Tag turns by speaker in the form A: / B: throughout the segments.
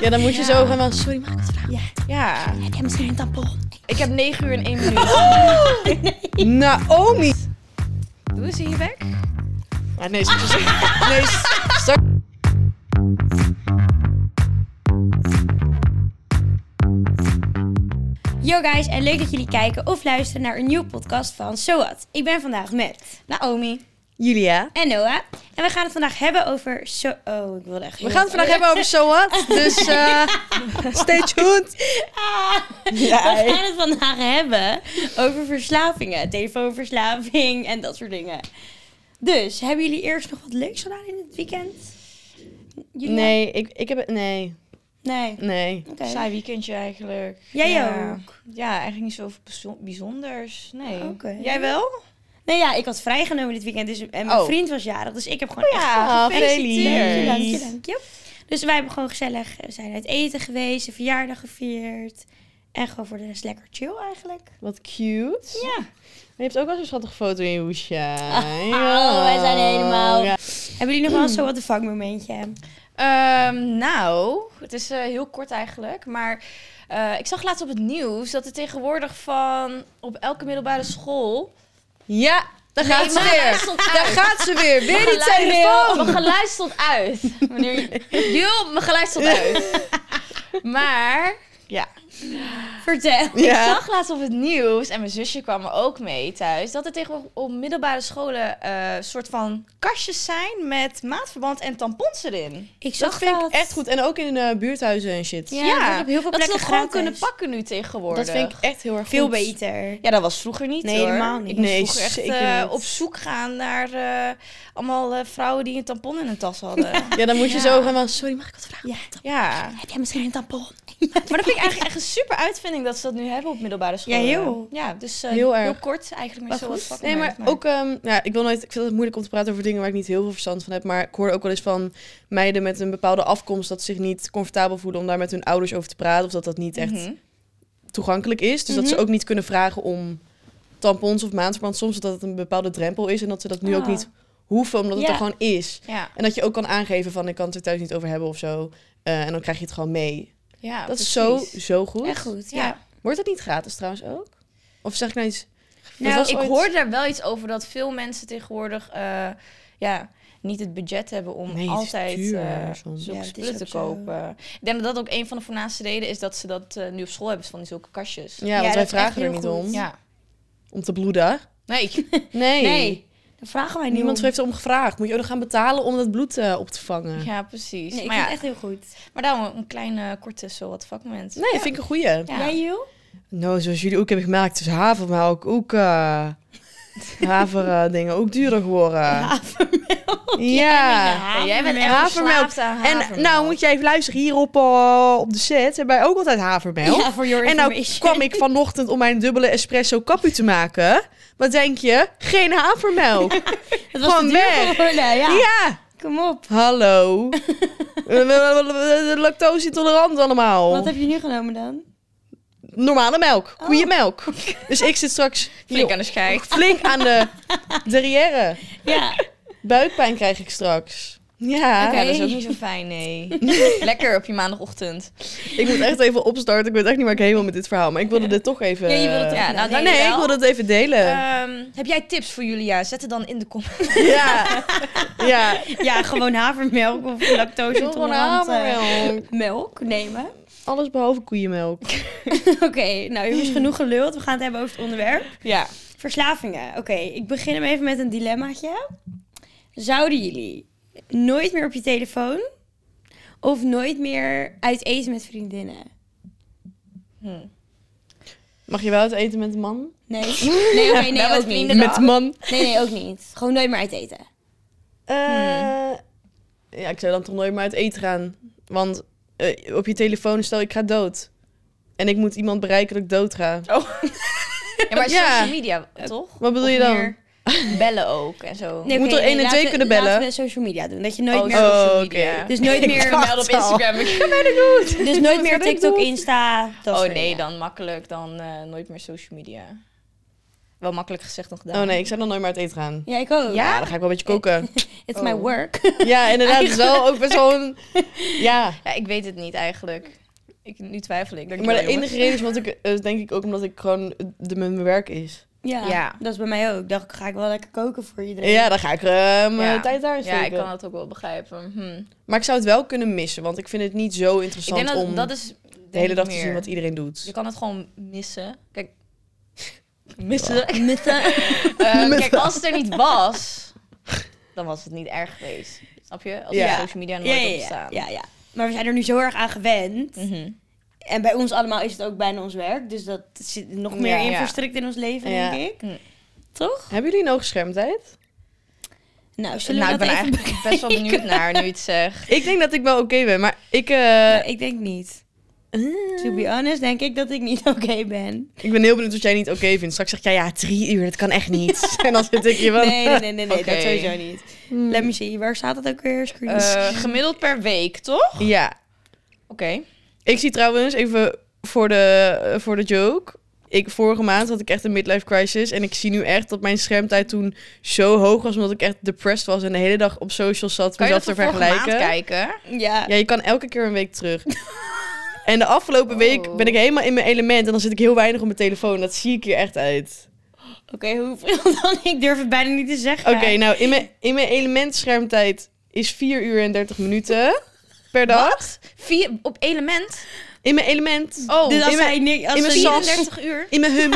A: Ja, dan moet je zo gaan van, sorry, mag ik het vragen?
B: Ja.
A: Heb jij misschien een tampon?
B: Ik heb 9 uur en 1 minuut.
C: Oh,
A: Naomi!
B: Hoe is je werk?
A: Ah, nee, ze- ze- nee, ze- start.
C: Yo guys, en leuk dat jullie kijken of luisteren naar een nieuwe podcast van SOAT. Ik ben vandaag met Naomi
A: Julia.
C: en Noah. En we gaan het vandaag hebben over... So oh, ik wilde echt...
A: We gaan het vandaag hebben over So What, dus eh, stay tuned.
C: Ah, we gaan het vandaag hebben over verslavingen. Telefoonverslaving en dat soort dingen. Dus, hebben jullie eerst nog wat leuks gedaan in het weekend? Jullie-
A: Nee, ik, ik heb het, nee,
C: Nee.
A: nee.
C: Oké.
B: Saai weekendje eigenlijk.
C: Jij
B: ja.
C: ook?
B: Ja, eigenlijk niet zoveel bijzo- bijzonders. Nee.
C: Oké.
B: Jij wel?
C: Nee, ja, ik had vrijgenomen dit weekend dus, en mijn
A: Oh.
C: vriend was jarig. Dus ik heb gewoon echt
B: Ja,
C: Dankjewel,
B: gefeliciteerd.
C: dankjewel, dankjewel. Dus wij hebben gewoon gezellig, we zijn uit eten geweest, een verjaardag gevierd. En gewoon voor de rest lekker chill eigenlijk.
A: Wat cute.
C: Ja.
A: Maar je hebt ook wel zo'n schattige foto in je hoesje.
C: oh, wij zijn helemaal-
A: Ja.
C: Hebben jullie nog wel zo wat een vakmomentje?
B: Ehm, nou, het is eh, heel kort eigenlijk. Maar eh, ik zag laatst op het nieuws dat er tegenwoordig van op elke middelbare school.
A: Ja, daar gaat ze
B: maar hij
A: weer.
B: stond
A: Daar gaat ze weer. Weer die
B: Geluid-
A: telefoon.
B: Mijn geluid stond uit. Wanneer je... Joh, mijn geluid stond uit. Maar
C: Vertel.
B: Ik
A: Ja.
B: zag laatst op het nieuws, en mijn zusje kwam er ook mee thuis, dat er tegenwoordig op middelbare scholen eh, soort van kastjes zijn met maatverband en tampons erin.
C: Ik zag
A: Dat vind ik echt goed. En ook in eh, buurthuizen en shit.
C: Ja, dat wordt op heel veel
B: dat
C: plekken
B: ze dat gewoon
C: gratis.
B: kunnen pakken nu tegenwoordig.
A: Dat vind ik echt heel erg
C: Veel
A: goed.
C: beter.
B: Ja, dat was vroeger niet
C: Nee,
B: hoor.
C: helemaal niet.
B: Ik moest
A: Nee,
B: vroeger echt
A: zeker
B: eh,
A: niet.
B: op zoek gaan naar eh, allemaal eh, vrouwen die een tampon in hun tas hadden. Ja.
A: Ja, dan moet je
B: Ja.
A: zo gaan van, sorry, mag ik wat vragen?
C: Heb jij misschien een tampon?
B: Maar dat vind ik eigenlijk echt een super uitvinding dat ze dat nu hebben op middelbare scholen.
C: Ja, heel.
B: Ja, dus eh,
A: Heel
B: heel,
A: erg.
B: kort eigenlijk met
C: Maar
B: zo
C: goed.
B: wat vakken.
A: Nee, maar ook, ehm, ja, ik wil nooit, ik vind het moeilijk om te praten over dingen waar ik niet heel veel verstand van heb. Maar ik hoor ook wel eens van meiden met een bepaalde afkomst dat ze zich niet comfortabel voelen om daar met hun ouders over te praten. Of dat dat niet echt
B: Mhm.
A: toegankelijk is. Dus
C: Mhm.
A: dat ze ook niet kunnen vragen om tampons of maandverband. Soms dat het een bepaalde drempel is en dat ze dat nu ook
C: Ah.
A: niet hoeven, omdat het
C: Ja.
A: er gewoon is.
B: Ja,
A: En dat je ook kan aangeven van ik kan het er thuis niet over hebben of zo. Eh, en dan krijg je het gewoon mee.
B: ja
A: dat is zo,
B: precies.
A: zo goed.
C: Ah, Echt goed, ja.
B: Ja.
A: Wordt dat niet gratis trouwens ook? Of zeg ik nou iets?
C: Nou,
A: Dat was
B: Ik
A: ooit-
B: hoorde daar wel iets over dat veel mensen tegenwoordig eh, ja, niet het budget hebben om
A: Nee, het is
B: altijd
A: duur
B: eh,
A: soms.
B: zulke
C: Ja, het is
B: spullen te
C: ook zo.
B: kopen. Ik denk dat dat ook een van de voornaamste redenen is dat ze dat eh, nu op school hebben, is van die zulke kastjes.
A: Ja,
C: Ja,
A: want
C: dat
A: wij
C: is echt
A: vragen er
C: heel
A: niet
C: goed.
A: om.
B: Ja.
A: Om te bloeden.
B: Nee,
A: Nee.
C: Nee, daar vragen wij niet
A: Niemand
C: om.
A: heeft erom gevraagd. Moet je ook nog gaan betalen om dat bloed eh, op te vangen?
B: ja, precies.
C: Nee, ik
B: maar,
C: vind
B: ja,
C: het echt heel goed.
B: maar daarom een kleine, korte, zo wat vakmoment.
A: Nee, vind ik een goeie.
B: Ja.
C: Jij, Jules?
A: Nou, zoals jullie ook hebben gemaakt, is havermelk ook... eh haverdingen ook duurder geworden. Ja.
B: Ja, jij bent echt
A: Havermelk.
B: verslaafd aan
A: En nou moet je even luisteren, hier op, eh, op de set hebben wij ook altijd havermelk.
C: Ja, voor your
A: En nou
C: information.
A: kwam ik vanochtend om mijn dubbele espresso kapu te maken. Wat denk je? Geen havermelk.
C: Het was
A: gewoon
C: te duur
A: weg.
C: geworden, ja.
A: Ja.
C: Kom op.
A: Hallo. Eh, Lactose intolerant allemaal.
C: Wat heb je nu genomen dan?
A: normale melk, koeienmelk. Dus ik zit straks
B: Flink
A: hier
B: aan de scheid.
A: flink aan de derrière.
C: Ja.
A: Buikpijn krijg ik straks. Ja,
B: Ja, dat is ook niet zo fijn, nee. Lekker op je maandagochtend.
A: ik moet echt even opstarten. Ik weet echt niet waar ik heen wil met dit verhaal. Maar ik wilde dit toch even... eh,
C: Ja, je wilde het
B: ja,
C: even
B: nou,
C: doen.
B: dan-
A: Nee, ik
B: wel.
A: wilde het even delen.
B: Ehm, heb jij tips voor Julia? Zet het dan in de comments.
A: Ja. ja.
C: Ja, gewoon havermelk of lactose eh,
A: Ik wil gewoon havermelk.
C: melk nemen.
A: Alles behalve koeienmelk.
C: Oké, nou jongens, genoeg geluld. We gaan het hebben over het onderwerp.
B: Ja.
C: Verslavingen. Oké, ik begin hem even met een dilemmaatje. Zouden jullie nooit meer op je telefoon of nooit meer uit eten met vriendinnen?
B: Hm.
A: Mag je wel het eten met een man?
C: Nee, nee, oké, nee,
B: Wel met
C: Nou, ook niet.
B: vrienden dan.
A: Met man?
C: Nee, nee, ook niet. Gewoon nooit meer uit eten.
A: Eh, Ja, ik zou dan toch nooit meer uit eten gaan. Want eh, op je telefoon stel ik ga dood. En ik moet iemand bereiken dat ik dood ga.
B: Ja, Eh, maar
A: Ja.
B: social media, toch?
A: Wat bedoel je
B: Of
A: dan?
B: meer bellen ook en zo.
C: Nee,
A: Moet
C: oké,
A: er één en
C: laten
A: twee
C: we-
A: kunnen bellen.
C: Laten we social media doen. Dat je nooit
B: Oh,
C: meer...
B: social
A: Oh,
B: media.
A: oké.
C: Dus nooit
B: Ik
C: meer...
B: vermeld op Instagram.
C: Dus nooit meer
A: Wat ik
C: TikTok,
A: doe.
C: Insta. dat
B: Oh
C: soort
B: nee,
C: dingen.
B: dan makkelijk. Dan eh, nooit meer social media. Wel makkelijk gezegd dan gedaan.
A: Oh nee, ik zou dan nooit meer uit eten gaan.
C: Ja, ik ook.
B: Ja?
A: Ja, dan ga ik wel een beetje koken.
C: It's
B: Oh.
C: my work.
A: Ja, inderdaad. Het is wel ook best wel een... Ja.
B: Ja, ik weet het niet eigenlijk. Ik, nu twijfel ik.
A: Maar
B: Dankjewel,
A: de
B: jongens.
A: enige reden is want ik, eh, denk ik ook omdat ik gewoon eh, de, mijn mijn werk is.
C: ja,
B: Ja.
C: dat is bij mij ook. Dacht ik, ga ik wel lekker koken voor iedereen.
A: Ja, dan ga ik eh, mijn
B: Ja.
A: tijd daar
B: Ja,
A: steken.
B: ik kan dat ook wel begrijpen. Hm.
A: Maar ik zou het wel kunnen missen, want ik vind het niet zo
B: Ik
A: interessant
B: denk dat
A: om
B: dat is
A: de hele dag te zien wat iedereen doet.
B: Je kan het gewoon missen. Kijk, missen.
C: Missen.
B: Eh, kijk,
A: Missen.
B: als het er niet was, dan was het niet erg geweest. Snap je? Als
A: Ja.
B: de social media
C: Ja,
B: nooit
C: ja, ja,
B: opstaan.
C: ja, ja. Maar we zijn er nu zo erg aan gewend.
B: Mhm.
C: En bij ons allemaal is het ook bijna ons werk. Dus dat zit nog meer
B: Ja,
C: in
B: ja.
C: verstrikt in ons leven,
A: Ja.
C: denk ik.
B: Mm.
C: Toch?
A: Hebben jullie een hooggeschermdheid?
C: Nou, zullen
B: Nou,
C: we dat
B: ik ben
C: even...
B: eigenlijk best wel benieuwd naar nu je het zegt.
A: Ik denk dat ik wel oké ben, maar ik, eh, Ah.
C: Nou, ik denk niet. To be honest, denk ik dat ik niet oké ben.
A: ik ben heel benieuwd wat jij niet oké vindt. Straks zeg jij, ja, drie uur, dat kan echt niet. en dan zit ik hier wel...
C: Nee, nee, nee, nee, nee,
B: Oké.
C: dat sowieso niet. Let me see, waar staat dat ook weer? Screens.
B: Eh, gemiddeld per week, toch?
A: Ja,
B: Oké.
A: ik zie trouwens even voor de, eh, voor de joke... Ik, vorige maand had ik echt een midlife crisis. En ik zie nu echt dat mijn schermtijd toen zo hoog was. Omdat ik echt depressed was. En de hele dag op socials zat.
B: Kan je dat
A: mezelf
B: te
A: te
B: vergelijken?
A: vergelijken.
B: kijken?
C: ja.
A: Ja, je kan elke keer een week terug. en de afgelopen week
B: Oh.
A: ben ik helemaal in mijn element. En dan zit ik heel weinig op mijn telefoon. Dat zie ik hier echt uit.
C: Oké, hoeveel dan? Ik durf het bijna niet te zeggen.
A: Oké, nou, in mijn, in mijn element schermtijd is 4 uur en 30 minuten per dag.
B: Vier, op element?
A: In mijn element.
B: Oh,
C: dus als
A: in mijn-
C: zij niks...
A: in
C: Als
A: mijn
C: ze
A: sas.
B: 34 uur?
A: In mijn hum.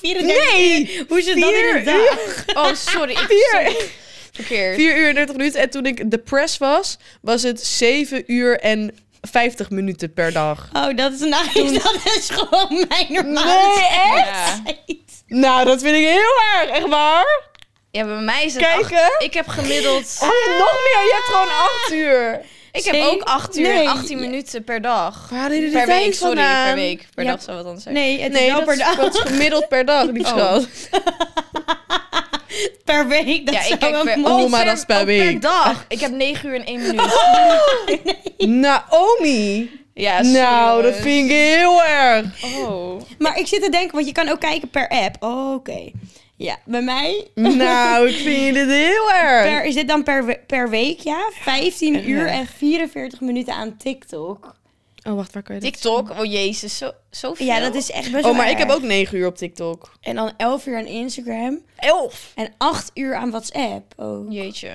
C: 34
A: Nee!
C: Hoe is het dan in
A: Vier
C: een dag?
B: Oh, sorry. Ik
A: Vier,
B: verkeerd.
A: 4 uur en 30 minuten. En toen ik depressed was, was het 7 uur en 50 minuten per dag.
C: Oh, dat is nice. Dat is gewoon mijn normale
A: Nee,
B: echt?
C: tijd.
A: Nou, dat vind ik heel erg, echt waar.
B: Ja, bij mij is het...
A: Kijken.
B: acht- ik heb gemiddeld...
A: Oh, nog meer, je hebt gewoon 8 uur.
B: Ik heb
C: Zeker.
B: ook 8 uur
C: Nee.
B: en 18 minuten per dag.
A: Waar hadden jullie die
B: Per
A: tijd
B: week, sorry. Per
A: vandaan?
B: week. Per
C: Ja.
B: dag zou wat anders zijn.
C: Nee, het
A: Nee,
C: is wel
A: dat
C: per
A: is,
C: dag.
A: dat is gemiddeld per dag, lief
B: Oh.
A: schat.
C: Per week, dat
B: Ja, ik
C: zou
B: kijk
C: wel
B: per-
C: mooi
A: Oh, maar
C: zijn.
A: dat is per
B: Oh, per
A: week.
B: dag. Ik heb 9 uur en 1 minuut.
A: Naomi.
B: Ja, sorry,
A: nou, dat
B: jongens.
A: vind ik heel erg.
B: Oh.
C: Maar ik zit te denken, want je kan ook kijken per app. Oh, oké. Ja, bij mij
A: Nou, ik vind dit heel
C: per,
A: erg.
C: is dit dan per, we- per week, ja? 15 uur en 44 minuten aan TikTok.
A: Oh, wacht, waar kan je
B: TikTok. Oh, jezus. Zo, zoveel.
C: Ja, dat is echt best wel
A: Oh, maar ik
C: erg.
A: heb ook 9 uur op TikTok.
C: En dan 11 uur aan Instagram.
A: 11.
C: En 8 uur aan WhatsApp. Oh.
B: Jeetje.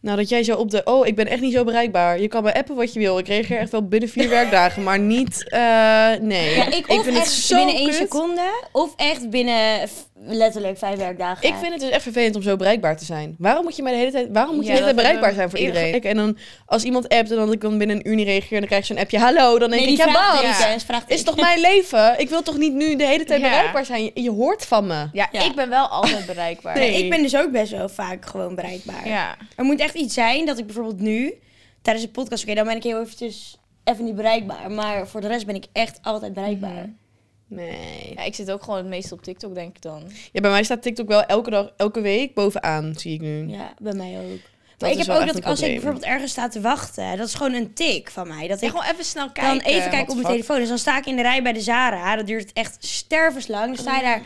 A: Nou, dat jij zo op de... Oh, ik ben echt niet zo bereikbaar. Je kan me appen wat je wil. Ik reageer echt wel binnen vier werkdagen, maar niet... eh, nee.
C: Ja, ik, of
A: vind het
C: echt
A: zo
C: binnen 1
A: kut.
C: seconde, of echt binnen f- letterlijk 5 werkdagen.
A: Ik vind het dus echt vervelend om zo bereikbaar te zijn. Waarom moet je mij de hele tijd, waarom moet je
B: Ja,
A: de hele
B: dat
A: tijd bereikbaar zijn
B: hebben
A: voor
B: we
A: iedereen? Kijk, En dan als iemand appt en dan ik dan binnen een uur niet reageer, dan krijg je zo'n appje hallo, dan denk
C: nee, die
A: ik ja,
C: vraagt
A: wat?
C: ik
B: Ja.
C: eens, vraagt
A: Is
C: ik.
A: toch mijn leven? Ik wil toch niet nu de hele tijd
B: Ja.
A: bereikbaar zijn? Je, je hoort van me.
B: Ja,
C: Ja.
B: ik ben wel altijd bereikbaar.
A: Nee.
C: Ik ben dus ook best wel vaak gewoon bereikbaar.
B: Ja.
C: Er moet echt iets zijn dat ik bijvoorbeeld nu, tijdens de podcast, oké, dan ben ik heel eventjes even niet bereikbaar. Maar voor de rest ben ik echt altijd bereikbaar.
A: Mhm. Nee.
B: ja. Ik zit ook gewoon het meeste op TikTok, denk ik dan.
A: Ja, bij mij staat TikTok wel elke dag, elke week bovenaan, zie ik nu.
C: Ja, bij mij ook.
A: Dat
C: Maar ik
A: is
C: heb
A: wel
C: ook
A: echt
C: dat ik
A: een
C: als ik
A: probleem.
C: bijvoorbeeld ergens sta te wachten, dat is gewoon een tik van mij. Dat
B: Ja,
C: ik
B: gewoon even snel kijken.
C: dan even kijken op
A: what
C: mijn
A: the
C: telefoon. Dus dan sta ik in de rij bij de Zara. Dat duurt echt stervenslang. Dan
A: Oh.
C: sta je daar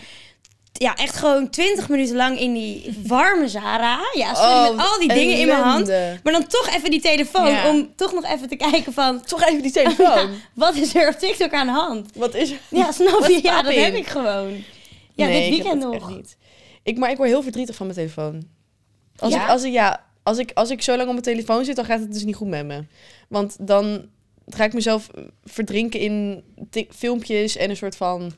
C: ja, echt gewoon 20 minuten lang in die warme Zara. Ja, sorry, met al die dingen in mijn hand.
A: Oh, ellende.
C: Maar dan toch even die telefoon
B: Ja.
C: om toch nog even te kijken van...
A: Toch even die telefoon.
C: Wat is er op TikTok aan de hand?
A: Wat is er?
C: Ja, snap
A: Wat
C: je? Ja, dat
A: popping?
C: heb ik gewoon.
A: Nee,
C: Ja, dit
A: ik heb
C: weekend
A: dat echt
C: nog.
A: niet. Ik, maar ik word heel verdrietig van mijn telefoon. Als,
B: Ja?
A: ik, als, ik, ja, als, ik, als ik zo lang op mijn telefoon zit, dan gaat het dus niet goed met me. Want dan ga ik mezelf eh, verdrinken in ti- filmpjes en een soort van...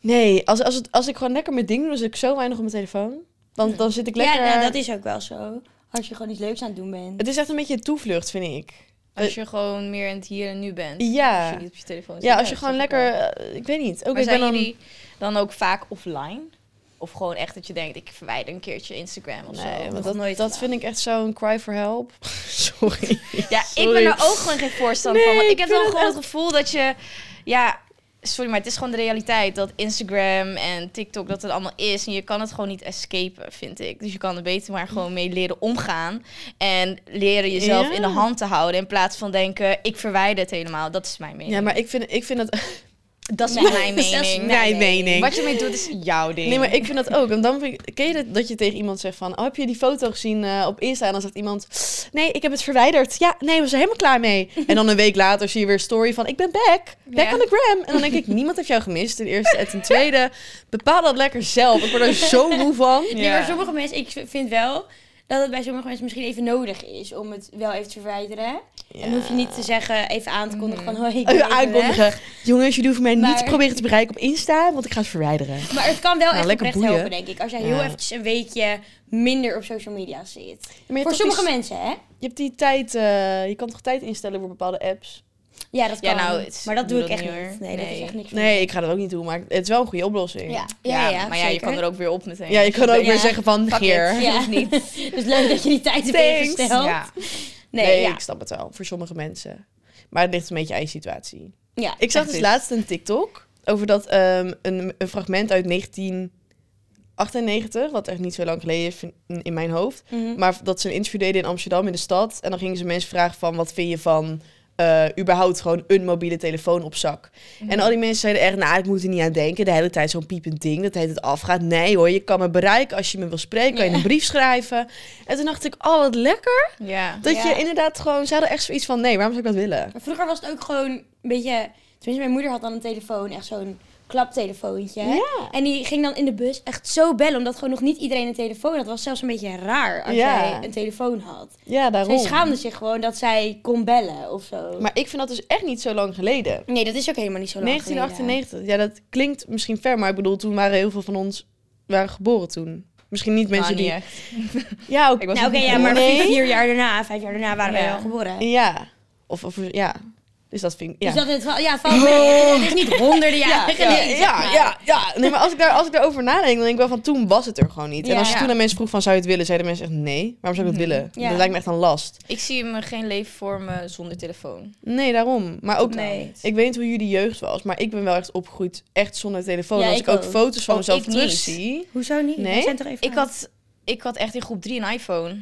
A: Nee, als, als, het, als ik gewoon lekker mijn ding doe, dan zit ik zo weinig op mijn telefoon. Want dan zit ik lekker...
C: Ja, nou, dat is ook wel zo. Als je gewoon iets leuks aan het doen bent.
A: Het is echt een beetje een toevlucht, vind ik.
B: Als je gewoon meer in het hier en nu bent. Als je
A: Ja.
B: niet op je telefoon zit.
A: Ja, als je
B: dat
A: gewoon
B: snap ik
A: lekker...
B: wel.
A: eh, ik weet niet. Ook
B: maar
A: ik ben
B: zijn
A: dan...
B: jullie dan ook vaak offline? Of gewoon echt dat je denkt, ik verwijder een keertje Instagram of
A: Nee,
B: zo?
A: want
C: nog
A: dat,
C: nooit
A: dat
C: gedaan.
A: vind ik echt zo'n cry for help. Sorry.
B: Ja, ik
A: Sorry.
B: ben daar ook gewoon geen voorstander van.
A: Nee,
B: Want
A: ik
B: ik heb
A: vind
B: dan
A: het
B: gewoon het gevoel dat je... Ja, sorry, maar het is gewoon de realiteit. Dat Instagram en TikTok, dat het allemaal is. En je kan het gewoon niet escapen, vind ik. Dus je kan er beter maar gewoon mee leren omgaan. En leren jezelf
A: Ja.
B: in de hand te houden. In plaats van denken, ik verwijder het helemaal. Dat is mijn mening.
A: Ja, maar ik vind, ik vind dat...
B: Dat is
C: Nee.
B: mijn
C: Dat is
B: mening.
C: mijn
A: Nee, mening.
B: Wat je mee doet is jouw ding.
A: Nee, maar ik vind dat ook. En dan vind ik, ken je dat, dat je tegen iemand zegt van... Oh, heb je die foto gezien eh, op Insta? En dan zegt iemand... Nee, ik heb het verwijderd. Ja, nee, we zijn helemaal klaar mee. En dan een week later zie je weer een story van... Ik ben back. Back
B: Ja.
A: on the gram. En dan denk ik, niemand heeft jou gemist. Ten eerste. En ten tweede, bepaal dat lekker zelf. Ik word er zo moe van.
C: Nee, maar sommige mensen, ik vind wel dat het bij sommige mensen misschien even nodig is om het wel even te verwijderen. En dan hoef je niet te zeggen, even aan te kondigen
B: Mhm.
C: van hoi, ik ben
A: U
C: even weg.
A: Eh, aankondigen. Jongens, jullie hoeven mij niet te
C: Maar-
A: proberen te bereiken op Insta, want ik ga ze verwijderen.
C: Maar het kan wel
A: Nou,
C: echt
A: lekker
C: oprecht
A: boeien.
C: helpen, denk ik. Als jij heel
A: Ja.
C: eventjes een weekje minder op social media zit.
A: Maar je hebt
C: Voor
A: toch
C: sommige
A: die-
C: mensen, hè?
A: Je hebt die tijd, eh, je kan toch tijd instellen voor bepaalde apps?
C: Ja, dat
B: Ja,
C: kan.
B: nou, het-
C: maar dat doe
B: doe
C: ik
B: dat
C: echt
B: niet,
C: niet.
B: hoor.
C: Nee, dat is
B: Nee.
C: echt niks voor
A: Nee, ik ga dat ook niet doen, maar het is wel een goede oplossing.
C: mij. Ja,
B: ja, maar ja, je
C: zeker.
B: kan er ook weer op meteen. Dus
A: Ja, je kan ook
C: Ja.
A: weer zeggen van
B: Fuck it.
A: negeer.
B: Ja. Of niet.
C: dus leuk dat je die tijd hebt
A: Thanks.
C: ingesteld.
B: Ja.
C: Nee,
A: nee,
C: ja.
A: ik snap het wel. Voor sommige mensen. Maar het ligt een beetje aan je situatie.
C: ja.
A: Ik zag
B: Echt
A: dus
B: is.
A: laatst een TikTok over dat ehm, een, een fragment uit 1998, wat echt niet zo lang geleden is in, in mijn hoofd.
C: Mhm.
A: Maar dat ze een interview deden in Amsterdam in de stad. En dan gingen ze mensen vragen van wat vind je van eh, überhaupt gewoon een mobiele telefoon op zak. En al die mensen zeiden echt, nou ik moet er niet aan denken. De hele tijd zo'n piepend ding, dat de hele tijd afgaat. Nee hoor, je kan me bereiken als je me wil spreken, kan je een brief schrijven. En toen dacht ik, oh wat lekker.
B: Ja.
A: Dat
C: Ja.
A: je inderdaad gewoon, ze hadden echt zoiets van, nee, waarom zou ik dat willen?
C: Maar Vroeger was het ook gewoon een beetje... Tenminste, mijn moeder had dan een telefoon, echt zo'n klaptelefoontje. En die ging dan in de bus echt zo bellen, omdat gewoon nog niet iedereen een telefoon had. Dat was zelfs een beetje raar als
A: Ja.
C: jij een telefoon had.
A: Ja, daarom.
C: Zij schaamde zich gewoon dat zij kon bellen of zo.
A: Maar ik vind dat dus echt niet zo lang geleden.
C: nee, dat is ook helemaal niet zo lang geleden.
A: 1998, ja dat klinkt misschien ver, maar ik bedoel, toen waren heel veel van ons waren geboren toen. Misschien niet mensen die... Ja, ook,
B: Ik was
C: Nou oké,
B: niet
C: ja, maar
A: Nee.
C: vier, vier jaar daarna, vijf jaar daarna waren wij
B: Ja.
C: al geboren.
A: Ja. Of, of ja. Dus dat vind ik. Ja.
C: Dus dat het wel, ja, valt mee. Het is niet honderden jaren
A: ja,
C: geleden.
A: ja, ja, ja. Nee, maar als ik, daar, als ik daarover nadenk, dan denk ik wel van toen was het er gewoon niet. En
C: Ja.
A: als je
B: Ja.
A: toen aan mensen vroeg van zou je het willen, zeiden mensen echt nee. Waarom zou ik dat willen?
C: Ja.
A: Dat lijkt me echt een last.
B: Ik zie me geen leven voor me zonder telefoon.
A: Nee, daarom. Maar ook,
B: Nee.
A: ik weet niet hoe jullie jeugd was, maar ik ben wel echt opgegroeid echt zonder telefoon.
C: Ja,
A: als
C: ik
A: ik ook
C: ook.
A: foto's van
B: Ook
A: mezelf
B: ik niet.
A: terugzie.
C: Hoezo niet?
A: Nee?
C: Dat zijn toch even
B: Ik had, ik had echt in groep 3 een iPhone.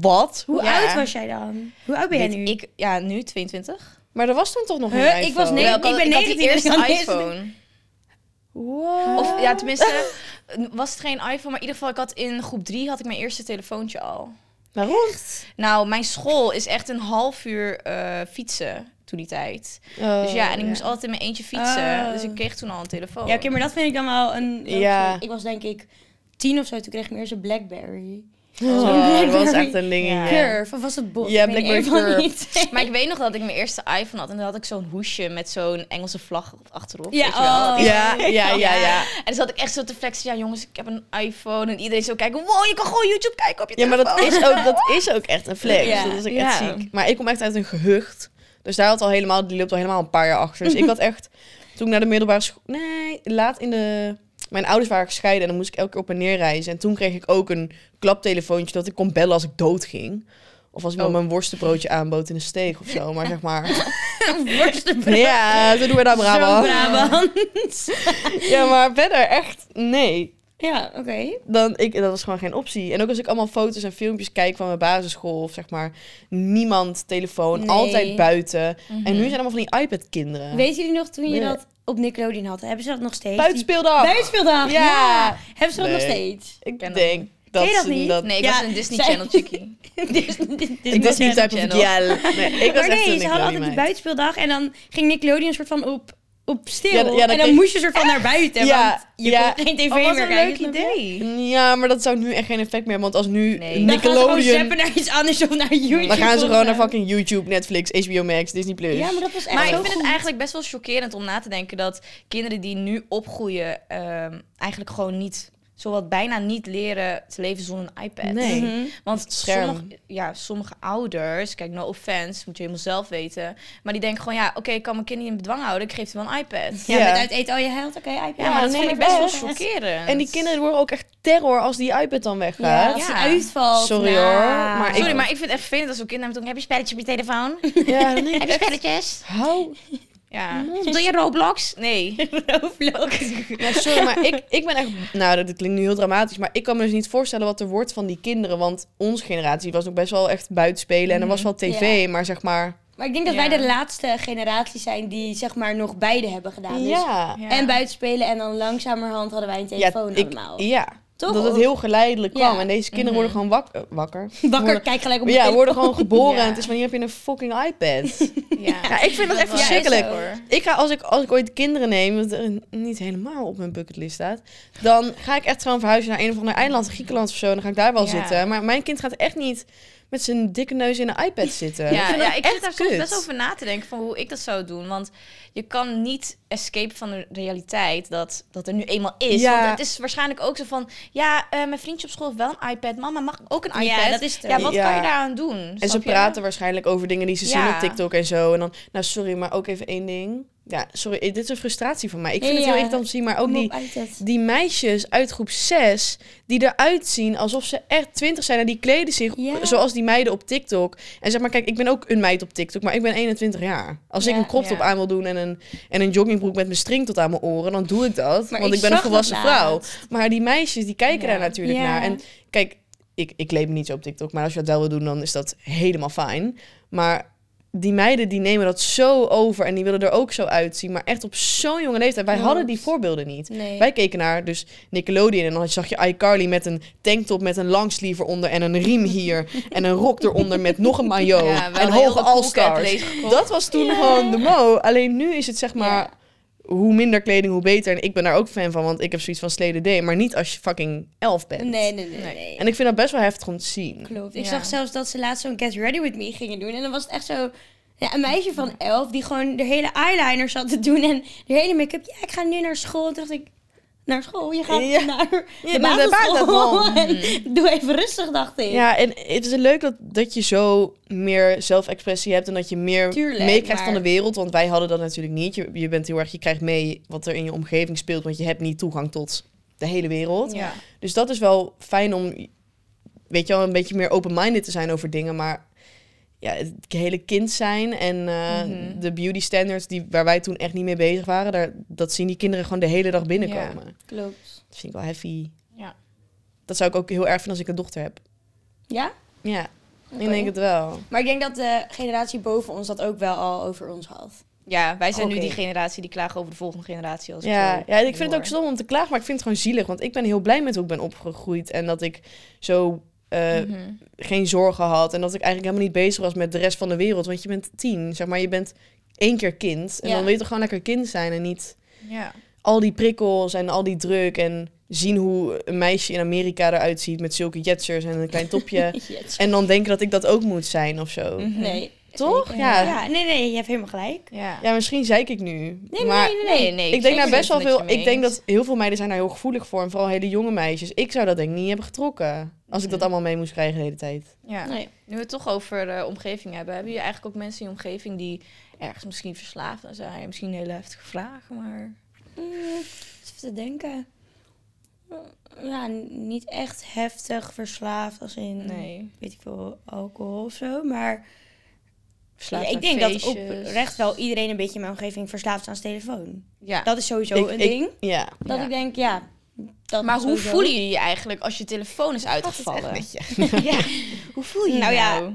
A: Wat? Hoe?
C: Hoe
B: Ja.
C: oud was jij dan? Hoe oud ben jij
B: Weet
C: nu?
B: Ik, ja, nu 22.
A: Maar er was toen toch nog
C: Huh?
A: een iPhone?
C: Ik was Nee,
B: Wel,
C: ik ben
B: had- had die
C: 19 en ik had
B: eerste
C: deze.
B: iPhone.
A: What?
B: Of ja, tenminste, was het geen iPhone, maar in ieder geval, ik had in groep 3 had ik mijn eerste telefoontje al.
A: Waarom?
B: Nou, mijn school is echt een half uur eh, fietsen toen die tijd. dus ja, en ik moest altijd in mijn eentje fietsen.
C: Oh.
B: Dus ik kreeg toen al een telefoon.
C: Ja, oké, maar dat vind ik dan wel een...
A: Oh. Ja.
C: Ik was denk ik tien of zo, toen kreeg ik mijn eerste Blackberry.
A: Oh, dat was echt een
B: Ja.
A: dingetje.
C: Curve, of was het bot?
A: Ja,
C: Ik weet
A: Blackberry
C: een van
A: Curve.
C: die twee.
B: Maar ik weet nog dat ik mijn eerste iPhone had en dan had ik zo'n hoesje met zo'n Engelse vlag achterop.
C: Ja,
B: weet je wel.
C: oh.
A: Ja, ja, ja, ja.
B: En dus had ik echt zo te flexen, ja jongens, ik heb een iPhone. En iedereen zo kijken, wow, je kan gewoon YouTube kijken op je
A: Ja, maar dat
B: telefoon.
A: is ook, dat is ook echt een flex.
C: Ja.
A: Dat is ook
B: Ja.
A: echt ziek. Maar ik kom echt uit een gehucht. Dus daar had al helemaal, die loopt al helemaal een paar jaar achter. Dus ik had echt, toen ik naar de middelbare school... Nee, laat in de... Mijn ouders waren gescheiden en dan moest ik elke keer op en neer reizen. En toen kreeg ik ook een klaptelefoontje dat ik kon bellen als ik dood ging. Of als iemand
B: Oh.
A: me een worstenbroodje aanbood in de steeg of zo. Maar zeg maar... Ja, zo doen we dat Brabant. Ja, maar verder echt, nee.
C: Ja, oké.
A: dan ik, dat was gewoon geen optie. En ook als ik allemaal foto's en filmpjes kijk van mijn basisschool, of zeg maar, niemand telefoon,
C: Nee.
A: altijd buiten.
B: Mhm.
A: En nu zijn allemaal van die iPad-kinderen.
C: Weten jullie nog toen je
A: Nee.
C: dat op Nickelodeon had? Hebben ze dat nog steeds?
A: Buitenspeeldag!
C: Die- Buitenspeeldag, ja.
A: Ja.
C: Hebben ze dat nog
A: Nee.
C: steeds?
A: Ik
B: Ken dat
A: denk dat,
C: Ken je dat
A: ze
C: niet?
A: dat...
B: Nee, ik
C: Ja,
B: was een Disney
C: zij-
B: Channel chickie.
C: Disney- Disney-
A: ik was niet
B: Channel.
A: type of girl. Nee, ik was
C: Maar
A: echt
C: nee,
A: een
C: ze hadden altijd
A: Nickelodeon
C: die
A: meid.
C: buitenspeeldag en dan ging Nickelodeon een soort van op, op stil.
A: Ja, ja, dan
C: en dan
A: kreeg-
C: moest je een soort van naar buiten,
A: Ja,
C: want je
A: ja.
C: kon geen tv
B: Oh, wat
C: meer
B: een
C: kijken.
B: leuk
C: snap je?
B: idee.
A: Ja, maar dat zou nu echt geen effect meer hebben, want als nu
B: Nee. Dan
C: Dan gaan ze gewoon
A: Nickelodeon...
C: zappen naar iets anders of naar YouTube.
A: Dan gaan ze gewoon naar
C: of zo.
A: fucking YouTube, Netflix, HBO Max, Disney+. Plus.
C: Ja, maar dat was echt
B: Maar
C: zo
B: ik vind
C: goed.
B: het eigenlijk best wel chockerend om na te denken dat kinderen die nu opgroeien ehm, eigenlijk gewoon niet, zowat bijna niet leren te leven zonder een iPad.
A: Nee.
C: Mhm.
B: Want
A: Scherm.
B: sommige, ja, sommige ouders, kijk, no offense, moet je helemaal zelf weten. Maar die denken gewoon, ja, oké, ik kan mijn kind niet in bedwang houden, ik geef ze wel een iPad.
C: Ja,
A: Ja.
C: met uit eten al je geld, oké, iPad.
B: Ja, maar dat
A: nee,
B: vind ik best wel
A: best.
B: chockerend.
A: En die kinderen worden ook echt terror als die iPad dan
C: Ja,
A: weggaat.
C: als het
B: Ja.
C: uitvalt.
A: Sorry
C: nou.
A: hoor, maar ik-
B: Sorry, maar ik vind het echt vervelend als zo'n kind naar me toe komt, Heb je spelletjes op je telefoon?
A: Ja, nee.
B: Heb je spelletjes?
A: Hou
B: Ja. Doe je Roblox? Nee.
C: Roblox.
A: Ja, sorry, maar ik, ik ben echt... Nou, dat klinkt nu heel dramatisch, maar ik kan me dus niet voorstellen wat er wordt van die kinderen. Want onze generatie was nog best wel echt buitenspelen en er was wel tv, maar zeg maar...
C: Maar ik denk dat
B: Ja.
C: wij de laatste generatie zijn die zeg maar nog beide hebben gedaan. Dus
A: ja.
B: Ja.
C: En buitenspelen en dan langzamerhand hadden wij een telefoon
A: ik-
C: allemaal.
A: Ja,
C: Toch?
A: dat het heel geleidelijk
C: Ja.
A: kwam. En deze kinderen worden gewoon wak- eh, wakker.
C: Wakker,
A: Worden-
C: kijk gelijk op
A: ja,
C: mijn
A: worden gewoon geboren.
B: Ja.
A: En het is van, hier heb je een fucking iPad.
B: Ja.
A: Ja, ik vind dat echt
B: Ja, is
A: verschrikkelijk.
B: zo, hoor.
A: Ik ga, als ik, als ik ooit kinderen neem, wat er niet helemaal op mijn bucketlist staat, dan ga ik echt gewoon verhuizen naar een of ander eiland, Griekenland of zo, en dan ga ik daar wel
B: Ja.
A: zitten. Maar mijn kind gaat echt niet met zijn dikke neus in een iPad zitten. ik
B: Ja,
A: vind
B: ja,
A: dat
B: ik
A: echt
B: zit daar
A: kut.
B: soms best over na te denken van hoe ik dat zou doen. Want je kan niet escape van de realiteit dat, dat er nu eenmaal is.
A: Ja.
B: Want het is waarschijnlijk ook zo van... Ja, eh, mijn vriendje op school heeft wel een iPad. Mama, mag ik ook een iPad?
C: Ja, dat is het
B: Ja,
C: ook.
B: wat
A: Ja.
B: kan je daaraan doen?
A: En
B: Snap
A: ze
B: je?
A: praten waarschijnlijk over dingen die ze zien
B: Ja.
A: op TikTok en zo. En dan, nou sorry, maar ook even één ding. Ja, sorry, dit is een frustratie van mij. Ik vind het
C: Ja.
A: heel irritant om te zien, maar ook
C: Kom
A: die,
C: op, uit het.
A: die meisjes uit groep 6 die eruit zien alsof ze echt 20 zijn en die kleden zich
C: Ja.
A: zoals die meiden op TikTok. En zeg maar, kijk, ik ben ook een meid op TikTok, maar ik ben 21 jaar. Als ik
C: Ja,
A: een crop top
B: ja.
A: aan wil doen en een, en een joggingbroek met mijn string tot aan mijn oren, dan doe ik dat.
C: Maar
A: want
C: ik
A: ik ben een
C: zag dat
A: volwassen vrouw.
C: laatst.
A: Maar die meisjes die kijken
B: Ja.
A: daar natuurlijk
C: Ja.
A: naar. En kijk, ik, ik kleed me niet zo op TikTok, maar als je dat wel wil doen, dan is dat helemaal fijn. Maar die meiden die nemen dat zo over en die willen er ook zo uitzien, maar echt op zo'n jonge leeftijd. Wij
C: Klopt.
A: hadden die voorbeelden niet.
C: Nee.
A: Wij keken naar dus Nickelodeon en dan zag je iCarly met een tanktop met een langsleeve eronder en een riem hier en een rok eronder met nog een maillot
B: Ja, we
A: en
B: hadden heel
A: hoge
B: veel cool
A: all-stars.
B: cat gekocht.
A: Dat was toen gewoon de mo. Alleen nu is het zeg maar
B: Ja.
A: hoe minder kleding hoe beter en ik ben daar ook fan van, want ik heb zoiets van sleden D, maar niet als je fucking elf bent.
C: Nee, nee, nee.
B: Nee.
C: nee.
A: En ik vind dat best wel heftig om te zien.
C: Klopt. Ik
B: Ja.
C: zag zelfs dat ze laatst zo'n Get Ready With Me gingen doen. En dan was het echt zo... Ja, een meisje van elf die gewoon de hele eyeliner zat te doen. En de hele make-up. Ja, ik ga nu naar school. Toen dacht ik... Naar school? Je gaat
A: Ja.
C: naar de
A: Ja, naar de
C: basisschool.
A: basisschool.
C: En doe even rustig, dacht ik.
A: Ja, en het is leuk dat, dat je zo meer zelfexpressie hebt en dat je meer
C: Tuurlijk,
A: meekrijgt
C: maar-
A: van de wereld. Want wij hadden dat natuurlijk niet. Je, je bent heel erg, je krijgt mee wat er in je omgeving speelt, want je hebt niet toegang tot de hele wereld.
B: Ja.
A: Dus dat is wel fijn om, weet je wel, een beetje meer open-minded te zijn over dingen. Maar ja, het hele kind zijn en eh,
B: Mhm.
A: de beauty standards die, waar wij toen echt niet mee bezig waren, daar, dat zien die kinderen gewoon de hele dag binnenkomen.
C: Klopt.
A: Dat vind ik wel heavy.
B: Ja.
A: Dat zou ik ook heel erg vinden als ik een dochter heb.
C: Ja?
A: Ja,
C: Oké.
A: ik denk het wel.
C: Maar ik denk dat de generatie boven ons dat ook wel al over ons had.
B: Ja, wij zijn
A: Oké.
B: nu die generatie die klagen over de volgende generatie. Als
A: Ja,
B: zo
A: ja, ik vind het ook
B: hoor.
A: stom om te klagen, maar ik vind het gewoon zielig. Want ik ben heel blij met hoe ik ben opgegroeid. En dat ik zo eh,
B: Mhm.
A: geen zorgen had. En dat ik eigenlijk helemaal niet bezig was met de rest van de wereld. Want je bent tien, zeg maar. Je bent één keer kind. En
C: Ja.
A: dan wil je toch gewoon lekker kind zijn. En niet
B: Ja.
A: al die prikkels en al die druk. En zien hoe een meisje in Amerika eruit ziet met zulke jetsers en een klein topje. en dan denken dat ik dat ook moet zijn of zo.
B: Mhm.
C: Nee.
A: Toch?
C: Mm, Zeker.
A: Ja.
C: ja. Nee, nee, je hebt helemaal gelijk.
B: Ja.
A: Ja, misschien zeik ik nu.
C: Nee,
A: maar
C: nee, nee, nee.
B: Nee, nee.
A: ik denk daar
B: zeker
A: best wel
B: dat je
A: veel.
B: mee
A: Ik denk
B: eens.
A: dat heel veel meiden zijn daar heel gevoelig voor. En vooral hele jonge meisjes. Ik zou dat denk ik niet hebben getrokken. Als ik dat allemaal mee moest krijgen de hele tijd.
B: Ja.
C: Nee.
B: Nu we het toch over eh, omgeving hebben, hebben jullie eigenlijk ook mensen in je omgeving die ergens misschien verslaafd aan zijn? Misschien een hele heftige vragen, maar.
C: Mm, even te denken. Ja, n- niet echt heftig verslaafd als in,
B: Nee.
C: weet ik veel, alcohol of zo. Maar
B: Verslaafd
C: ik
B: aan
C: denk
B: feestjes.
C: dat oprecht wel iedereen een beetje in mijn omgeving verslaafd is aan zijn telefoon.
B: Ja.
C: Dat is sowieso
A: Ik-
C: een
A: ik-
C: ding.
A: Ja.
C: Dat
B: Ja.
C: ik denk, ja. Dat
B: Maar hoe
C: sowieso.
B: voelen jullie je eigenlijk als je telefoon is uitgevallen? ja. Hoe voel je je
C: Nou
B: nou?
C: ja,
B: ik,
C: Ik,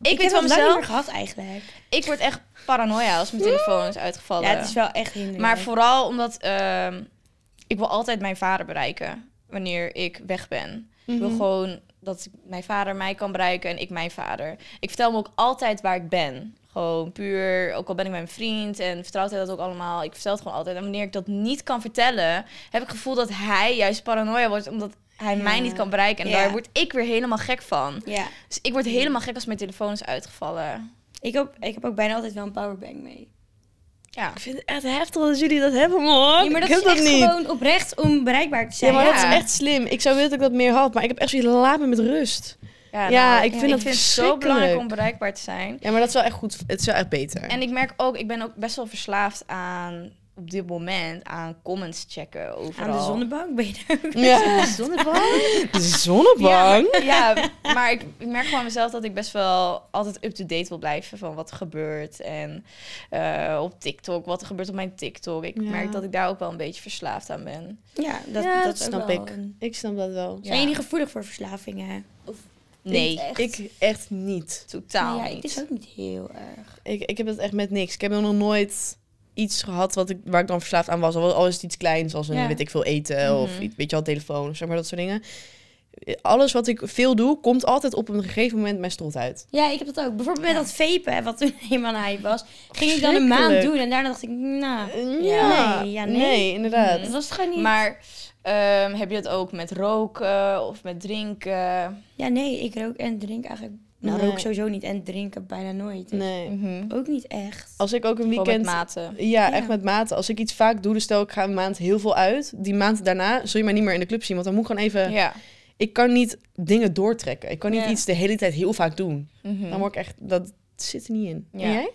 B: weet
C: heb het
B: van
C: lang niet meer
B: mezelf,
C: gehad eigenlijk.
B: ik word echt paranoia als mijn telefoon is uitgevallen.
C: Ja, het is wel echt hinderlijk.
B: Maar vooral omdat ehm, ik wil altijd mijn vader bereiken wanneer ik weg ben. Ik wil
A: Mhm.
B: gewoon dat ik- mijn vader mij kan bereiken en ik mijn vader. Ik vertel hem ook altijd waar ik ben. Gewoon puur, ook al ben ik met mijn vriend en vertrouwt hij dat ook allemaal. Ik vertel het gewoon altijd. En wanneer ik dat niet kan vertellen, heb ik het gevoel dat hij juist paranoia wordt omdat hij mij
C: Ja.
B: niet kan bereiken. En
C: Ja.
B: daar word ik weer helemaal gek van.
C: Ja.
B: Dus ik word helemaal gek als mijn telefoon is uitgevallen.
C: Ik, ook, ik heb ook bijna altijd wel een powerbank mee.
B: Ja.
A: Ik vind het echt heftig dat jullie dat hebben,
B: Oh,
A: man.
C: Ja, maar dat
A: ik
C: is
A: heb dat
C: echt
A: niet.
C: gewoon oprecht om bereikbaar te
A: Ja,
C: zijn.
A: maar dat
B: Ja.
A: is echt slim. Ik zou willen dat ik dat meer had. Maar ik heb echt zoiets laat me met rust.
B: Ja,
A: Ja,
B: nou,
A: ik vind dat
B: het zo belangrijk
A: verschrikkelijk.
B: om bereikbaar te zijn.
A: Ja, maar dat is wel echt goed. Het is wel echt beter.
B: En ik merk ook, ik ben ook best wel verslaafd aan op dit moment aan comments checken overal.
C: Aan de zonnebank ben je daar ook.
A: ja.
B: zonnebank?
A: De zonnebank.
B: Ja, maar, ik, ik merk gewoon aan mezelf dat ik best wel altijd up-to-date wil blijven van wat er gebeurt. En eh, op TikTok, wat er gebeurt op mijn TikTok. Ik
A: Ja.
B: merk dat ik daar ook wel een beetje verslaafd aan ben.
C: Ja, dat,
A: Ja,
C: dat,
A: dat snap
C: ik.
A: Ik snap dat wel.
B: Ja.
C: Zijn jullie gevoelig voor verslavingen? Nou Of
B: Nee,
C: Niet echt.
A: Ik echt niet.
B: totaal
C: Nee, ja, ik
B: niet.
C: is ook niet heel erg.
A: Ik, ik heb het echt met niks. Ik heb nog nooit iets gehad wat ik, waar ik dan verslaafd aan was. Al al is het iets kleins, als een,
C: Ja.
A: weet ik veel, eten of
B: Mhm.
A: iets- weet je al telefoon, zeg maar dat soort dingen. Alles wat ik veel doe, komt altijd op een gegeven moment mijn strot uit.
C: Ja, ik heb dat ook. Bijvoorbeeld met dat vapen, hè, wat toen helemaal een hype was. Ging ik dan een maand
A: Verschrikkelijk.
C: doen en daarna dacht ik, nou,
A: Ja.
C: Nee, ja, nee. Mhm.
A: nee. inderdaad.
C: dat was toch gewoon niet...
B: Maar ehm, heb je dat ook met roken of met drinken?
C: Ja, nee, ik rook en drink eigenlijk... Nou,
A: Nee.
C: rook sowieso niet en drinken bijna nooit. Dus
A: Nee.
B: Mhm.
C: Ook niet echt.
A: Als ik ook een
B: Gewoon met
A: weekend
B: maten.
A: Ja,
C: Ja.
A: echt met mate. Als ik iets vaak doe, dus stel ik ga een maand heel veel uit. Die maand daarna zul je mij niet meer in de club zien. Want dan moet ik gewoon even...
B: Ja.
A: Ik kan niet dingen doortrekken. Ik kan niet
C: Ja.
A: iets de hele tijd heel vaak doen.
B: Mhm.
A: Dan word ik echt... Dat zit er niet in.
B: Ja.
A: En jij?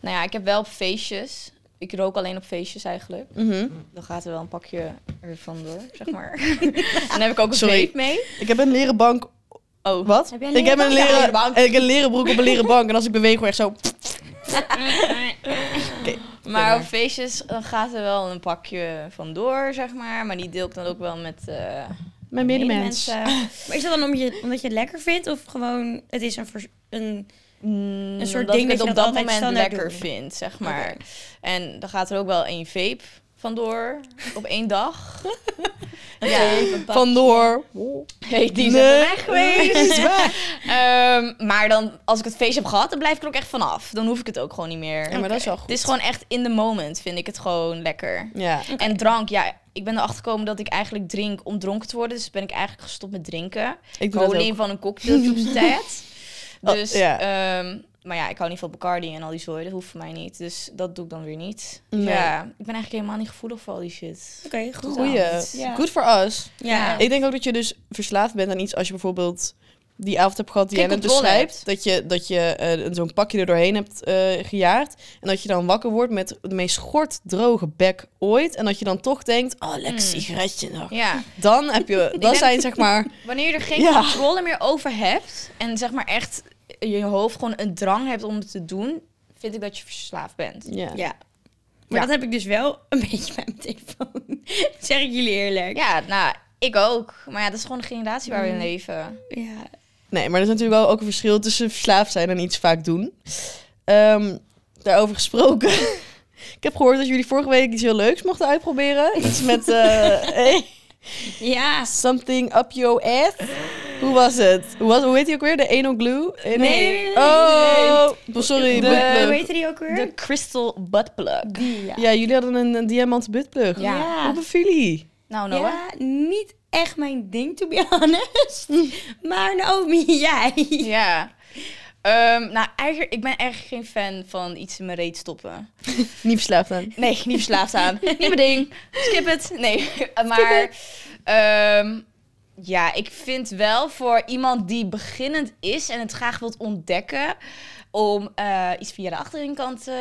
B: Nou ja, ik heb wel op feestjes. Ik rook alleen op feestjes eigenlijk.
A: Mhm.
B: Dan gaat er wel een pakje ervan door, zeg maar. en dan heb ik ook een
A: Sorry.
B: vape mee.
A: Ik heb een leren bank...
B: Oh.
A: Wat?
C: Heb jij een
A: ik heb
C: leren
A: een
B: bank? Ja,
A: leren...
B: leren bank.
A: en ik heb een leren broek op een leren bank. En als ik beweeg, word ik echt zo...
B: Maar
A: Verder.
B: op feestjes dan gaat er wel een pakje vandoor, zeg maar. Maar die deel ik dan ook wel met eh
A: Mijn medemens.
C: Maar is dat dan om je, omdat je het lekker vindt of gewoon het is een, vers- een
B: een
C: soort
B: dat
C: ding
B: mm, ik
C: dat
B: het
C: je
B: op
C: dat
B: dat
C: altijd
B: moment
C: standaard
B: lekker
C: doet.
B: vind, zeg maar. En dan gaat er ook wel één vape vandoor op één dag. ja,
A: Vandoor.
B: hey, die is
A: Nee.
B: even weg geweest. Ehm, maar dan, als ik het feest heb gehad, dan blijf ik er ook echt vanaf. Dan hoef ik het ook gewoon niet meer.
A: Ja, maar dat is wel goed.
B: Het is gewoon echt in the moment, vind ik het gewoon lekker.
A: Ja.
B: En drank, ja, ik ben erachter gekomen dat ik eigenlijk drink om dronken te worden. Dus ben ik eigenlijk gestopt met drinken.
A: Ik
B: Ik
A: doe dat
B: hou
A: ook.
B: alleen van een cocktailtje op zijn tijd.
A: Oh,
B: Dus,
A: ja.
B: ehm, maar ja, ik hou niet van Bacardi en al die zooi. Dat hoeft voor mij niet. Dus dat doe ik dan weer niet.
A: Nee.
B: Ja, ik ben eigenlijk helemaal niet gevoelig voor al die shit.
C: Oké, goed.
B: Goeie.
A: Goeie.
C: Ja.
A: Good for us.
C: Ja.
A: Ik denk ook dat je dus verslaafd bent aan iets als je bijvoorbeeld die avond hebt gehad die
B: Geen
A: jij net
B: controle
A: beschrijft.
B: hebt.
A: Dat je, dat je eh, zo'n pakje er doorheen hebt eh, gejaagd. En dat je dan wakker wordt met de meest schort droge bek ooit. En dat je dan toch denkt, oh, lekker
B: Mm.
A: sigaretje nog.
B: Ja,
A: Dan heb je, dan
B: denk-
A: zijn zeg maar...
B: wanneer je er geen
A: Ja.
B: controle meer over hebt... en zeg maar echt in je hoofd gewoon een drang hebt om het te doen... vind ik dat je verslaafd bent.
A: Ja.
C: Ja. Maar
B: Ja.
C: dat heb ik dus wel een beetje bij mijn telefoon. Dat zeg ik jullie eerlijk.
B: Ja, nou, ik ook. Maar ja, dat is gewoon de generatie waar we in leven.
C: Ja.
A: Nee, maar er is natuurlijk wel ook een verschil tussen verslaafd zijn en iets vaak doen. Ehm, daarover gesproken. Ik heb gehoord dat jullie vorige week iets heel leuks mochten uitproberen. Iets met eh,
C: Ja.
A: Something up your ass. Hoe was het? Hoe, was, hoe heet die ook weer? De anal glue? Eh,
C: Nee, nee, nee, nee,
A: Oh, sorry.
B: De-
A: buttplug.
C: Hoe heette die ook weer?
B: De crystal butt plug.
C: Die, ja.
A: Ja, jullie hadden een, een diamant buttplug.
B: Ja.
A: Hoe beviel jullie?
B: Nou, Noah.
C: Ja, niet echt mijn ding, to be honest. Maar Naomi, jij.
B: Ja. Ehm, nou, eigenlijk, ik ben echt geen fan van iets in mijn reet stoppen.
A: Niet verslaafd aan.
B: Nee, niet verslaafd aan. niet mijn ding. Skip het. Nee, maar... ehm, ja, ik vind wel voor iemand die beginnend is en het graag wilt ontdekken... om eh, iets via de achteringkant eh,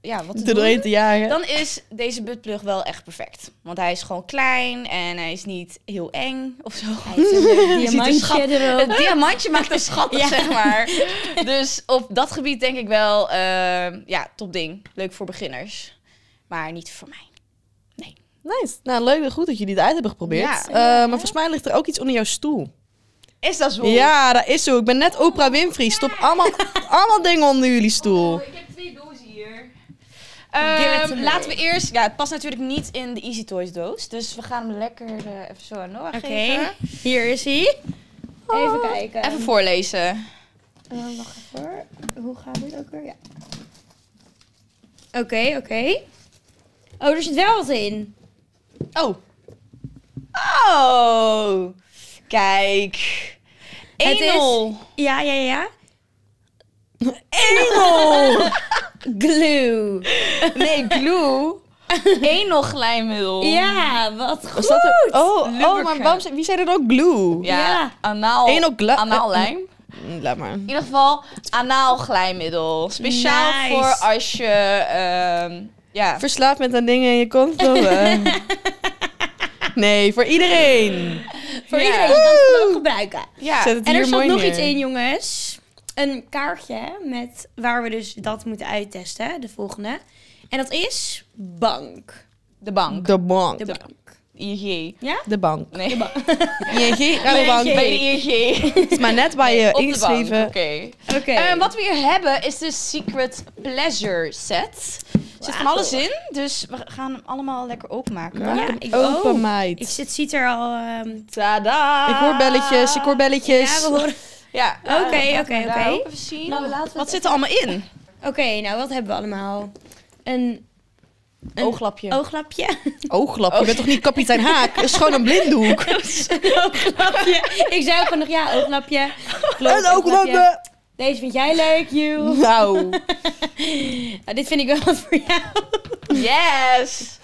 B: ja, wat te
A: Te
B: doen.
A: doorheen te jagen.
B: Dan is deze buttplug wel echt perfect. Want hij is gewoon klein en hij is niet heel eng of zo.
C: Die
B: ziet er schat-
C: erop.
B: Het diamantje maakt hem schattig,
C: Ja.
B: zeg maar. Dus op dat gebied denk ik wel, eh, ja, top ding. Leuk voor beginners. Maar niet voor mij.
A: Nice. Nou, leuk en goed dat jullie het uit hebben geprobeerd.
B: Ja.
A: Eh, maar volgens mij ligt er ook iets onder jouw stoel.
B: Is dat zo?
A: Ja, dat is zo. Ik ben net Oprah Winfrey. Stop allemaal, allemaal dingen onder jullie stoel.
B: Oh, ik heb twee dozen hier.
C: Give it to me.
B: Ehm, laten we eerst... Ja, het past natuurlijk niet in de Easy Toys doos. Dus we gaan hem lekker eh, even zo aan Noah
C: Oké,
B: geven.
C: hier is hij. Even kijken.
B: Oh. Even voorlezen.
C: Eh, wacht even hoor. Hoe gaan we het ook weer? Ja. Oké, oké. Oh, er zit wel wat in.
A: Oh.
B: Oh! Kijk. 1-0.
C: Het is- Ja, ja, ja.
A: Engel!
C: Glue.
B: Nee, glue. 1-0 glijmiddel.
C: Ja, wat goed.
A: Was dat er- Oh, oh, maar
B: Lubricant.
A: waarom, zei- wie zei er ook glue?
B: Ja,
C: Ja.
B: anaal.
A: 1-0 gla-
B: anaal lijm.
A: Mm, Laat maar.
B: In ieder geval anaal glijmiddel. Speciaal
C: Nice.
B: voor als je ehm, ja,
A: Verslaafd met dat ding en je komt komen. nee, voor iedereen.
C: Voor
B: Ja.
C: iedereen, je kan het gewoon gebruiken.
B: ja.
A: Zet het
C: En
A: hier
C: er zat
A: mooi
C: nog
A: neer.
C: iets in, jongens. Een kaartje met waar we dus dat moeten uittesten, de volgende. En dat is bank.
B: de bank.
A: De bank.
C: De bank.
B: ING.
A: De bank.
B: Nee, de bank.
A: ING, Rabobank.
B: bij de ING.
A: Het is maar net waar je
B: Op de bank,
A: ingeschreven.
B: oké.
C: Oké.
B: Ehm, wat we hier hebben is de Secret Pleasure set. Er zit van
C: Wauw.
B: alles in, dus we gaan hem allemaal lekker openmaken.
C: Ja, ik
A: Open
C: ook.
A: meid.
C: Ik, het ziet er al... ehm,
B: Tada!
A: Ik hoor belletjes, ik hoor belletjes.
C: ja, we horen-
B: Ja. Eh,
C: Oké,
B: laten we
C: oké,
B: daar
C: oké.
B: ook Even zien.
C: Nou, laten we
B: Wat zit er allemaal in?
C: Oké, nou wat hebben we allemaal? Een Een
B: Ooglapje.
C: ooglapje.
A: Ooglap, je bent toch niet kapitein
C: Oh.
A: Haak? Het is gewoon een blinddoek.
C: een ooglapje. Ik zei ook gewoon nog ja, ooglapje. Klopt,
A: En ooglapje.
C: Deze vind jij leuk, you.
A: Nou,
C: Nou, dit vind ik wel wat voor jou.
B: Yes!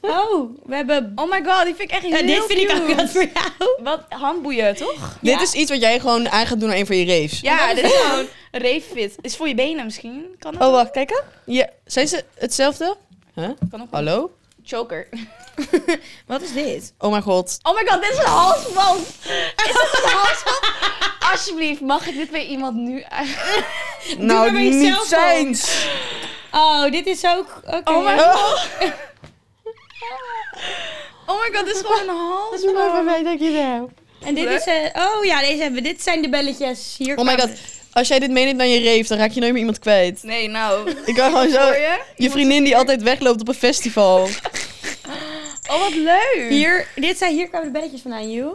C: Oh, we hebben...
B: Oh my god, die vind ik echt
C: Ja,
B: heel
C: dit vind ik
B: cute.
C: ook wat voor jou.
B: Wat handboeien, toch?
A: dit is iets wat jij gewoon aan gaat doen aan een van je raves.
B: Ja, dit is gewoon een reeffit. Is voor je benen misschien. Kan dat?
A: Oh, wacht, kijken. Ja, zijn ze hetzelfde? Huh?
B: Kan ook.
A: Hallo?
B: Choker.
C: Wat is dit?
A: Oh mijn god.
B: Oh my god, dit is een halsband. Is dit een halsband? Alsjeblieft, mag ik dit bij iemand nu uit?
A: nou,
C: maar
A: niet
C: jezelf
A: zijns.
C: Oh, dit is ook... Oké.
B: Oh my
A: Oh,
B: Oh my god, dit is gewoon een
A: even
B: halsband.
A: dat je nou.
C: En dit is... eh, oh ja, deze hebben we. Dit zijn de belletjes. Hier
A: Oh my
C: komen-
A: god. Als jij dit meeneemt naar je rave, dan raak je nooit meer iemand kwijt.
B: Nee, nou.
A: Ik kan gewoon zo...
B: Hoor je?
A: Je vriendin die altijd wegloopt op een festival.
B: Oh, wat leuk.
C: Hier, dit zijn, hier komen de belletjes vandaan, you.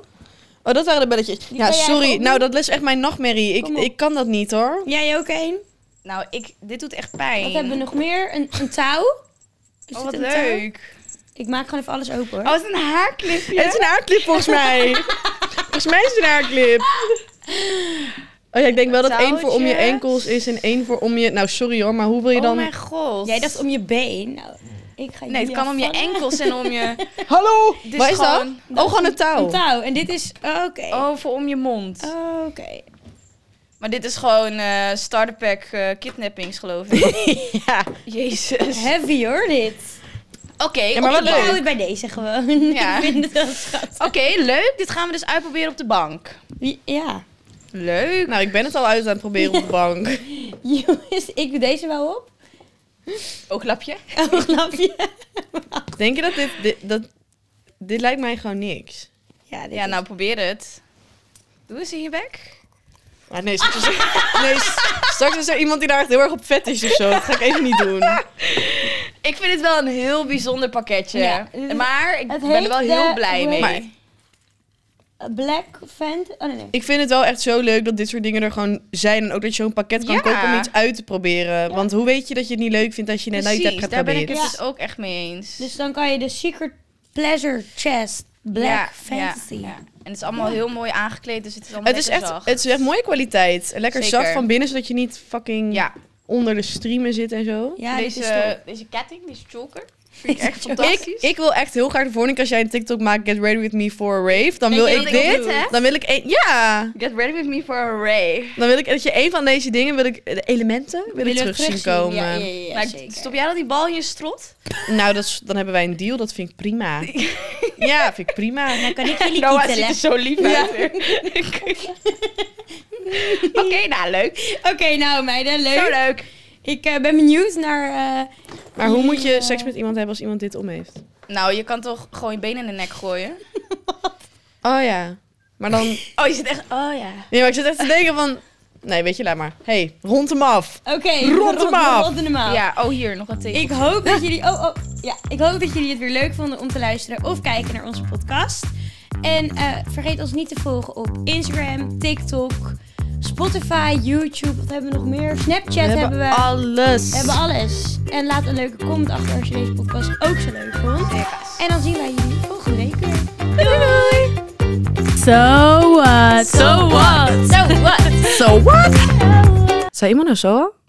A: Oh, dat waren de belletjes. Ja,
C: kan jij even
A: sorry.
C: opdoen.
A: Nou, dat is echt mijn nachtmerrie. Ik,
C: Kom op.
A: ik kan dat niet, hoor.
C: Jij ook één?
B: Nou, ik, dit doet echt pijn.
C: Wat hebben we nog meer? Een, een touw. Is dit
B: Oh, wat
C: een touw?
B: leuk.
C: Ik maak gewoon even alles open hoor.
B: Oh, het is een haarklipje.
A: Het is een haarklip volgens mij. volgens mij is het een haarklip. Oh ja, ik denk wel dat één voor om je
B: Touwtjes.
A: enkels is en één voor om je... Nou, sorry hoor, maar hoe wil je
B: Oh
A: dan...
B: mijn god.
C: Jij dacht om je been. Nou, ik ga
B: Nee, het kan om je enkels en om je...
A: Hallo!
B: Dit is
A: Wat is dat?
B: gewoon-
A: Oh, gewoon een touw.
C: Een touw. En dit is... Oké.
B: Oh, voor om je mond.
C: Oké.
B: Maar dit is gewoon eh starter pack eh, kidnappings, geloof ik.
A: Ja.
B: Jezus.
C: Heavy hoor, dit.
B: Oké,
A: maar
B: op
A: wat
B: de
A: leuk.
B: bank.
C: Ik hou het bij deze gewoon.
B: Ja.
C: ik vind het wel schattig.
B: Oké, leuk. Dit gaan we dus uitproberen op de bank.
C: Ja.
B: Leuk.
A: Nou, ik ben het al uit aan het proberen op de bank.
C: Jongens, ik doe deze wel op.
B: Ook lapje.
C: Oh, lapje.
A: Denk je dat dit... Dit, dat, dit lijkt mij gewoon niks.
C: Ja, dit
B: Ja,
C: is-
B: nou probeer het. Doe eens in je bek.
A: Maar Ah, nee, straks, nee, straks is er iemand die daar echt heel erg op vet is of zo. Dat ga ik even niet doen.
B: Ik vind het wel een heel bijzonder pakketje.
C: Ja, dit is-
B: maar ik
C: het
B: ben er wel
C: heet
B: heel
C: de
B: blij
C: Ray-
B: mee.
A: Maar-
B: nou.
C: Black Vent. Oh, nee, nee.
A: Ik vind het wel echt zo leuk dat dit soort dingen er gewoon zijn. En ook dat je zo'n pakket kan
B: Ja.
A: kopen om iets uit te proberen. Want hoe weet je dat je het niet leuk vindt als je net nooit hebt
B: Precies, daar ben
A: geprobeerd?
B: ik het
C: Ja.
B: dus ook echt mee eens.
C: Dus dan kan je de Secret Pleasure Chest Black
B: Ja,
C: Fantasy.
B: ja, ja. En het is allemaal heel mooi aangekleed, dus het is allemaal
A: Het is,
B: lekker
A: echt,
B: zacht.
A: het is echt mooie kwaliteit. Lekker
B: Zeker.
A: zacht van binnen, zodat je niet fucking
B: Ja,
A: onder de streamen zit en zo.
C: Ja, dit is top.
B: deze, deze ketting, deze choker, vind ik echt
A: Ik,
B: fantastisch.
A: ik wil echt heel graag de volgende keer als jij een TikTok maakt, get ready with me for a rave. Dan
B: Weet
A: wil
B: je
A: ik
B: wat ik wil
A: dit.
B: doen, hè?
A: Dan wil ik een, ja.
B: Get ready with me for a ray.
A: Dan wil ik dat je een van deze dingen, wil ik de elementen, wil ik
C: Willen we
A: terug zien
C: terugzien?
A: komen.
C: Ja, ja, ja, ja,
B: Maar
C: zeker.
B: stop jij dan die bal in je strot?
A: Nou, dat is, dan hebben wij een deal. Dat vind ik prima. ja, vind ik prima.
C: Dan kan ik jullie
B: Noah ziet
C: kietelen.
B: er zo lief uit weer. Oké, nou leuk.
C: Oké, nou meiden, leuk.
B: Zo leuk.
C: Ik eh, ben benieuwd naar... eh,
A: Maar hoe moet je seks met iemand hebben als iemand dit om heeft?
B: Nou, je kan toch gewoon je benen in de nek gooien?
A: Oh ja. Maar dan...
B: Oh, je zit echt... Oh ja.
A: Nee, maar ik zit echt te denken van... Nee, weet je, laat maar. hey, rond hem af.
C: Oké,
A: Rond hem af.
C: Rond hem af.
B: Ja, oh hier, nog wat tegen.
C: Ik hoop dat jullie. Oh, oh, ja. Ik hoop dat jullie het weer leuk vonden om te luisteren of kijken naar onze podcast. En eh, vergeet ons niet te volgen op Instagram, TikTok, Spotify, YouTube. Wat hebben we nog meer? Snapchat hebben, we.
A: alles.
C: We hebben alles. En laat een leuke comment achter als je deze podcast ook zo leuk vond. En dan zien wij jullie volgende week weer. Doei!
A: So what? So what? So what? So what? Zijn iemand nou zo?